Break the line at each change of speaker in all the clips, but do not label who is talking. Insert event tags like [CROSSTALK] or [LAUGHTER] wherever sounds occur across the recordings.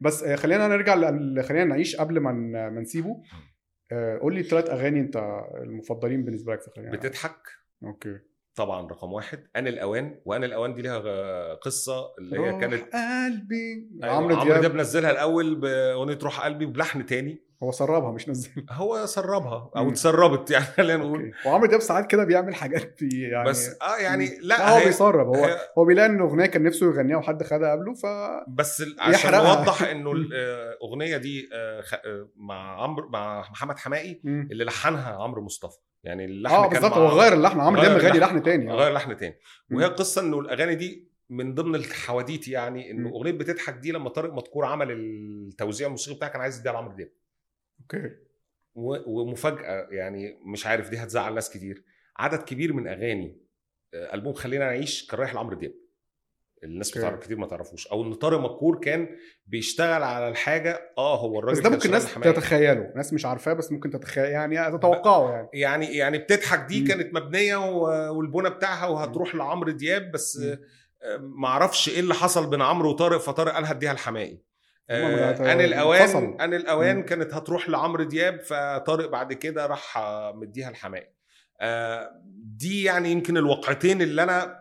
بس آه، خلينا نرجع ل... خلينا نعيش قبل ما ن- ما نسيبه آه، قول لي ثلاث اغاني انت المفضلين بالنسبه لك في خلينا
بتضحك
اوكي
طبعا رقم واحد انا الاوان وانا الاوان دي ليها آه، قصه اللي هي
روح
كانت
قلبي
أيوة،
عمرو
عمرو دياب
دياب
نزلها الاول باغنيه روح قلبي بلحن تاني
هو سربها مش
[LAUGHS]
نزل
هو سربها او
مم.
اتسربت يعني خلينا نقول
أوكي. وعمرو دياب ساعات كده بيعمل حاجات بي- يعني
بس اه يعني
لا
لا
هو
هي-
بيسرب هو
هي-
هو بيلاقي ان اغنيه كان نفسه يغنيها وحد خدها قبله ف
بس ال- عشان
يحرقها.
نوضح انه الاغنيه دي آه، خ- آه، مع عمرو مع محمد حماقي
مم.
اللي لحنها عمرو مصطفى يعني اللحن
اه
كان
بالظبط
مع
هو غير اللحن عمرو
غير
دياب مغني
اللحن.
لحن تاني آه.
غير لحن تاني وهي القصه انه الاغاني دي من ضمن الحواديت يعني انه
مم.
اغنيه بتضحك دي لما طارق مدكور عمل التوزيع الموسيقي بتاعها كان عايز يديها لعمرو دياب
اوكي
و- ومفاجاه يعني مش عارف دي هتزعل ناس كتير عدد كبير من اغاني آه، البوم خلينا نعيش كان رايح لعمرو دياب الناس
اوكي.
بتعرف كتير ما تعرفوش او ان طارق مدكور كان بيشتغل على الحاجه اه هو الراجل
بس ده
كان
ممكن
شغال
ناس
حماية.
تتخيله ناس مش عارفاه بس ممكن تتخيل يعني تتوقعه يعني
يعني يعني بتضحك دي
مم.
كانت مبنيه و- والبونه بتاعها وهتروح لعمرو دياب بس
مم.
آه، معرفش ايه اللي حصل بين عمرو وطارق فطارق قال هديها الحمائي
هما
آه،
بقى-
انا الاوان
انفصلوا.
انا الاوان
طيب، مم.
كانت هتروح لعمرو دياب فطارق بعد كده راح آه، مديها الحمائي آه، دي يعني يمكن الوقعتين اللي انا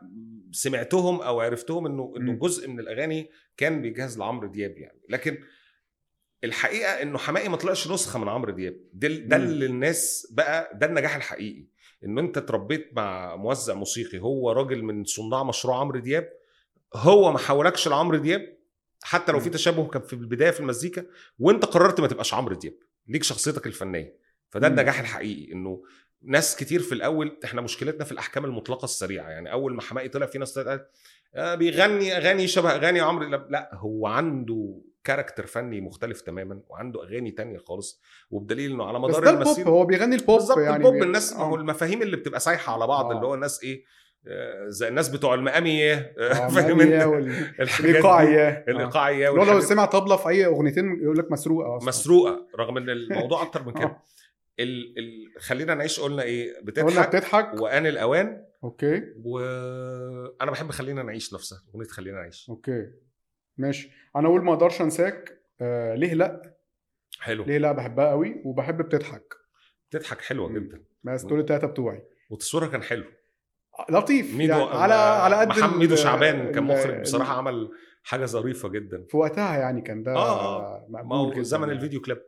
سمعتهم او عرفتهم انه انه
مم.
جزء من الاغاني كان بيجهز لعمرو دياب يعني لكن الحقيقه انه حماقي ما طلعش نسخه من عمرو دياب ده ده
مم.
اللي الناس بقى ده النجاح الحقيقي ان انت اتربيت مع موزع موسيقي هو راجل من صناع مشروع عمرو دياب هو ما حولكش لعمرو دياب حتى لو في
مم.
تشابه كان في البدايه في المزيكا وانت قررت ما تبقاش عمرو دياب ليك شخصيتك الفنيه فده
مم.
النجاح الحقيقي انه ناس كتير في الاول احنا مشكلتنا في الاحكام المطلقه السريعه يعني اول ما حماقي طلع في ناس طلعت قالت آه بيغني اغاني شبه اغاني عمرو لا, لا هو عنده كاركتر فني مختلف تماما وعنده اغاني تانية خالص وبدليل انه على
بس
مدار
ده البوب
المسيره
هو بيغني البوب
بالظبط
يعني
يعني البوب
بي-
الناس ما هو
آه.
المفاهيم اللي بتبقى سايحه على بعض
آه.
اللي هو ناس ايه آه، زي الناس بتوع المقاميه
آه،
[LAUGHS] فاهم
مانيا
انت
وال-
الحاجات دي.
الايقاعيه
[LAUGHS]
آه.
الايقاعيه
لو لو
والحاجات
سمع طبله في اي اغنيتين يقول لك مسروقه اصلا
مسروقه رغم ان الموضوع اكتر من كده [LAUGHS]
آه.
ال... ال... خلينا نعيش قلنا ايه
قلنا
بتضحك
بتضحك
وان الاوان
اوكي
وانا بحب خلينا نعيش نفسها اغنيه خلينا نعيش
اوكي ماشي انا اقول ما اقدرش انساك آه ليه لا
حلو
ليه لا بحبها قوي وبحب بتضحك
بتضحك حلوه
مم.
جدا
بس دول التلاته بتوعي
وتصويرها كان حلو
لطيف
ميدو آه،
يعني على على قد
محمد
ال-
ميدو شعبان كان
ال-
مخرج
ال-
بصراحه عمل حاجه ظريفه جدا
في وقتها يعني كان ده
آه، آه. ما
مقبول
هو
جدا
زمن
يعني.
الفيديو كليب